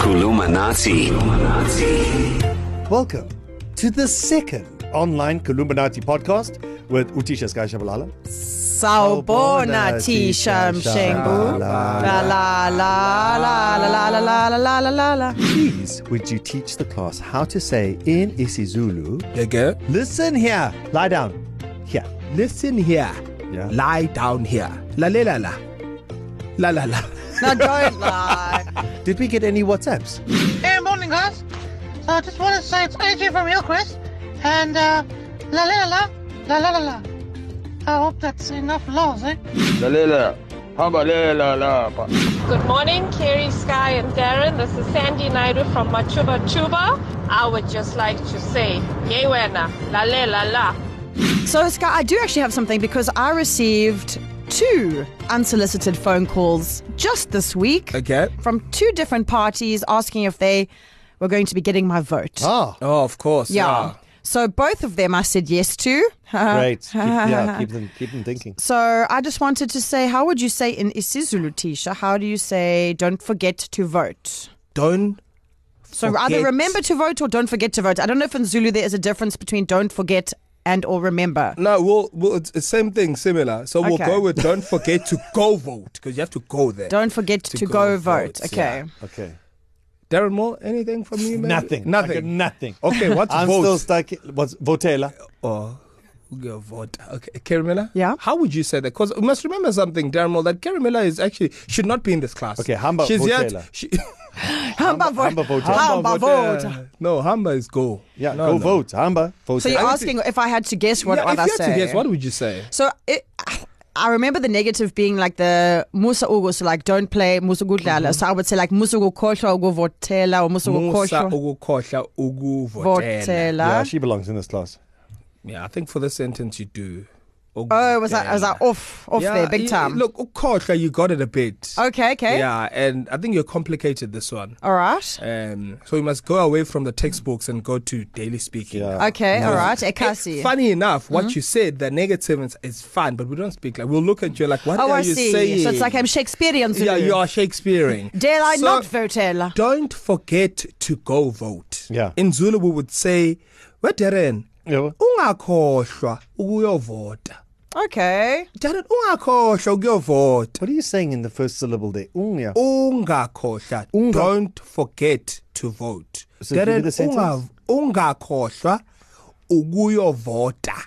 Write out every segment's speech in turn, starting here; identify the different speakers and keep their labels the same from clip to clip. Speaker 1: Kulumanati.
Speaker 2: Welcome to the second online Kuluminati podcast with Utisha Sky Shabalala. Oh,
Speaker 3: Sawubona Tisha Mshengu. La la la la la la la la la la la la.
Speaker 2: Please, would you teach the class how to say in isiZulu?
Speaker 4: There you go.
Speaker 2: Listen here, lie down. Here,
Speaker 4: Listen here.
Speaker 2: Yeah.
Speaker 4: Lie down here. La la la la. La la la.
Speaker 3: Now don't lie.
Speaker 2: did we get any WhatsApps?
Speaker 5: Hey, morning, guys. So I just want to say it's AJ from Hillcrest, and uh, la la la la la la la. I hope that's enough laws, eh?
Speaker 6: Lalela. Hamba lela lapa.
Speaker 7: Good morning, Kerry, Sky, and Darren. This is Sandy Naidu from Machuba Chuba. I would just like to say, Yewena, la la la la.
Speaker 3: So Sky, I do actually have something because I received two unsolicited phone calls just this week
Speaker 4: Okay.
Speaker 3: from two different parties asking if they were going to be getting my vote.
Speaker 2: Ah,
Speaker 4: Oh, of course.
Speaker 3: yeah. So both of them I said yes to.
Speaker 2: great. Keep, yeah, keep them, keep them thinking.
Speaker 3: So I just wanted to say, how would you say in isiZulu, Tisha? How do you say "don't forget to vote"?
Speaker 4: Don't.
Speaker 3: So either
Speaker 4: Forget.
Speaker 3: remember to vote or don't forget to vote. I don't know if in Zulu there is a difference between "don't forget" and "or remember."
Speaker 4: No, we'll, we'll it's the same thing, similar. So we'll
Speaker 3: Okay.
Speaker 4: go with don't forget to go vote because you have to go there.
Speaker 3: Don't forget to, go, vote. Okay.
Speaker 2: Okay.
Speaker 4: Darren Moore, anything from you? Maybe?
Speaker 2: Nothing.
Speaker 4: Nothing.
Speaker 2: Okay, nothing.
Speaker 4: okay, what's
Speaker 2: I'm
Speaker 4: vote?
Speaker 2: still stuck. What's Votela?
Speaker 4: Oh, go vote. Okay, Karimela?
Speaker 3: Yeah?
Speaker 4: How would you say that? Because you must remember something, Darren Moore, that Karimela is actually should not be in this class.
Speaker 2: Okay, Hamba
Speaker 4: She's yet.
Speaker 2: Votela.
Speaker 4: She,
Speaker 3: Hamba vote.
Speaker 2: Hamba vote.
Speaker 3: Hamba vote.
Speaker 4: Uh, no, Hamba is go.
Speaker 2: Yeah,
Speaker 4: no,
Speaker 2: go
Speaker 4: no.
Speaker 2: vote. Hamba. Votela.
Speaker 3: So you're
Speaker 4: I would
Speaker 3: asking if I had to guess what,
Speaker 4: yeah,
Speaker 3: what
Speaker 4: if
Speaker 3: I
Speaker 4: you had
Speaker 3: say.
Speaker 4: to guess, what would you say?
Speaker 3: So it, I remember the negative being like the Musa Ugo, so like don't play Musa Gudlala. So I would say like Musa Gukosha Ugo Votela or Musa
Speaker 4: Mm-hmm. Musa
Speaker 3: Gukosha
Speaker 4: ukukhohlwa ukuvotela.
Speaker 2: yeah,
Speaker 3: Votela.
Speaker 2: she belongs in this class.
Speaker 4: Yeah, I think for this sentence you do.
Speaker 3: Oh, was I was I
Speaker 4: Ukuvotela.
Speaker 3: off off
Speaker 4: Yeah,
Speaker 3: there big
Speaker 4: you-
Speaker 3: time?
Speaker 4: Look, ukhohlwa, you got it a bit.
Speaker 3: okay, okay,
Speaker 4: Yeah, and I think you complicated this one.
Speaker 3: all right,
Speaker 4: Um, so you must go away from the textbooks and go to daily speaking.
Speaker 2: Yeah.
Speaker 3: okay, Mm-hmm. all right.
Speaker 4: It-
Speaker 3: Ekasi.
Speaker 4: funny enough, what you said, the negative is, is fun, but we don't speak like we'll look at you like, what
Speaker 3: Oh,
Speaker 4: are
Speaker 3: I
Speaker 4: you
Speaker 3: see.
Speaker 4: saying?
Speaker 3: So it's like I'm Shakespearean Zulu.
Speaker 4: yeah, you are Shakespearean.
Speaker 3: Dare I
Speaker 4: So-
Speaker 3: not Votela?
Speaker 4: don't forget to go vote.
Speaker 2: Yeah.
Speaker 4: In Zulu we would say, "Weteren,
Speaker 2: Yeah.
Speaker 4: ungakhohlwa ukuyovota."
Speaker 3: Okay.
Speaker 4: Darren, ungakhohlwa ukuyovota.
Speaker 2: What are you saying in the first syllable there? Unya.
Speaker 4: Ungakhohlwa.
Speaker 2: Unga-
Speaker 4: Don't forget to vote.
Speaker 2: So give me the sentence.
Speaker 4: unga, ungakhohlwa ukuyovota.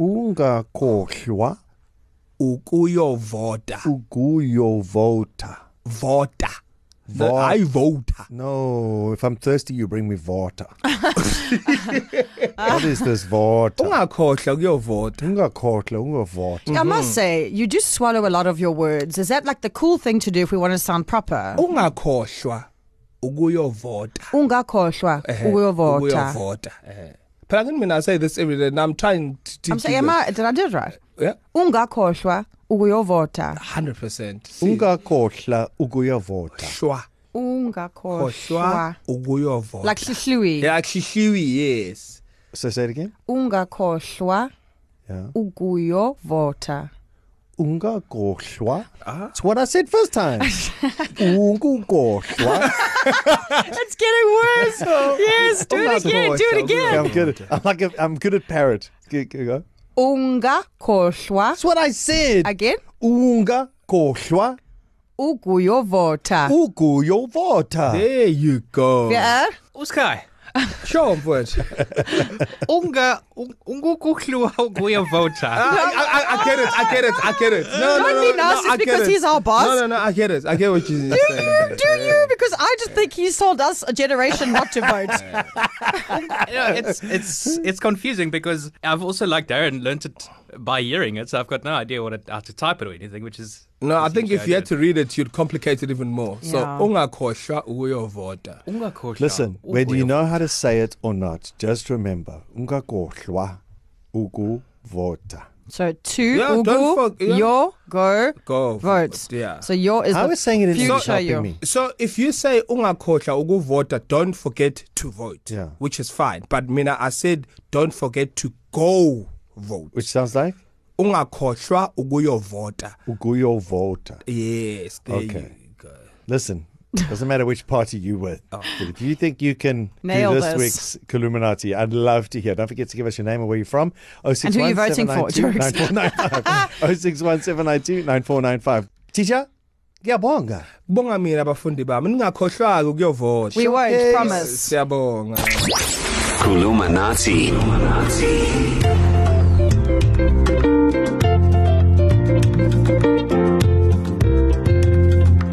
Speaker 2: Ungakhohlwa
Speaker 4: Ukuyovota.
Speaker 2: ukuyovota.
Speaker 4: Vota. The,
Speaker 2: Vota.
Speaker 4: I voter.
Speaker 2: No, if I'm thirsty, you bring me water. what is this water?
Speaker 4: Ungakhohlwa ukuyovota.
Speaker 2: Ungakhohlwa ungovota.
Speaker 4: Mm-hmm.
Speaker 3: I must say, you do swallow a lot of your words. Is that like the cool thing to do if we want to sound proper?
Speaker 4: Ungakhohlwa ukuyovota.
Speaker 3: Ungakhohlwa
Speaker 4: Eh,
Speaker 3: ukuyovota.
Speaker 4: ukuyovota eh. phela kini mina i say this every day and i'm trying to teach
Speaker 3: I'm saying,
Speaker 4: you
Speaker 3: am
Speaker 4: that.
Speaker 3: I, did I do it right?
Speaker 4: yeah
Speaker 3: Ungakhohlwa ukuyovota.
Speaker 4: 100% See,
Speaker 2: Ungakhohlwa ukuyovota.
Speaker 4: shwa
Speaker 3: Ungakhohlwa.
Speaker 4: khohlwa ukuyovota
Speaker 3: Like Shihlui.
Speaker 4: yeah shihliwi yes
Speaker 2: So say it again.
Speaker 3: Ungakhohlwa
Speaker 2: Yeah.
Speaker 3: ukuyovota.
Speaker 2: Ungakhohlwa. It's what I said first time. Ungukhohlwa.
Speaker 3: It's getting worse. yes, do it again. Do
Speaker 2: Okay,
Speaker 3: it again.
Speaker 2: I'm good. At, I'm like a, I'm good at parrot. Good, good, go.
Speaker 3: Ungakhohlwa
Speaker 2: That's what I said.
Speaker 3: again.
Speaker 2: Ungakhohlwa
Speaker 3: Ukuyovota.
Speaker 2: ukuyovota.
Speaker 4: there you go
Speaker 3: Yeah.
Speaker 8: Uskai,
Speaker 4: sure mfowethu
Speaker 8: unga un- ungukuhlua ukuyavota.
Speaker 4: I, I, I- I get it i get it i get it no no
Speaker 3: Don't
Speaker 4: no,
Speaker 3: be
Speaker 4: no,
Speaker 3: nasty
Speaker 4: I get
Speaker 3: because
Speaker 4: it.
Speaker 3: he's our boss.
Speaker 4: no no no i get it i get what you're
Speaker 3: Do
Speaker 4: saying
Speaker 3: you? Do you? Because I just think he's told us a generation not to vote.
Speaker 8: You know, Ah, it's it's it's confusing because I've also like Darren learned it by hearing it, so I've got no idea what it, how to type it or anything, which is
Speaker 4: no i think if you had
Speaker 8: to.
Speaker 4: to read it you'd complicate it even more so
Speaker 3: Yeah.
Speaker 4: ungakhohlwa ukuyovota
Speaker 8: Ungakhohlwa
Speaker 2: Listen, whether you
Speaker 8: ukuyovota.
Speaker 2: know how to say it or not, just remember ungakhohlwa ukuvota.
Speaker 3: So two
Speaker 4: Yeah,
Speaker 3: ugu,
Speaker 4: don't fuck- yeah.
Speaker 3: yo go
Speaker 4: go
Speaker 3: vote.
Speaker 4: vote, yeah.
Speaker 3: So yo is
Speaker 2: I
Speaker 3: the
Speaker 2: was saying it in
Speaker 3: future
Speaker 2: English,
Speaker 3: yo.
Speaker 2: helping me.
Speaker 4: So if you say ungakhohlwa ukuvota, don't forget to vote,
Speaker 2: Yeah.
Speaker 4: which is fine. But mina I said don't forget to go vote.
Speaker 2: Which sounds like
Speaker 4: Ungakhohlwa ukuyovota.
Speaker 2: ukuyovota.
Speaker 4: Yes, there
Speaker 2: Okay.
Speaker 4: you go.
Speaker 2: Listen, Doesn't matter which party you with. But if you think you can
Speaker 3: Nail
Speaker 2: do this,
Speaker 3: Oh. this.
Speaker 2: week's Columinati, I'd love to hear. Don't forget to give us your name and where you're from. Oh six
Speaker 3: who
Speaker 2: one
Speaker 3: you're voting
Speaker 2: seven
Speaker 3: for,
Speaker 2: nine two nine four nine five. Oh six one seven nine two nine four nine five. Tisha, ngiyabonga.
Speaker 4: bonga mina abafundi bami ningakhohlwa-ke ukuyovota
Speaker 3: We won't,
Speaker 4: Yes,
Speaker 3: promise.
Speaker 4: siyabonga
Speaker 1: Kulumanati. Kulumanati.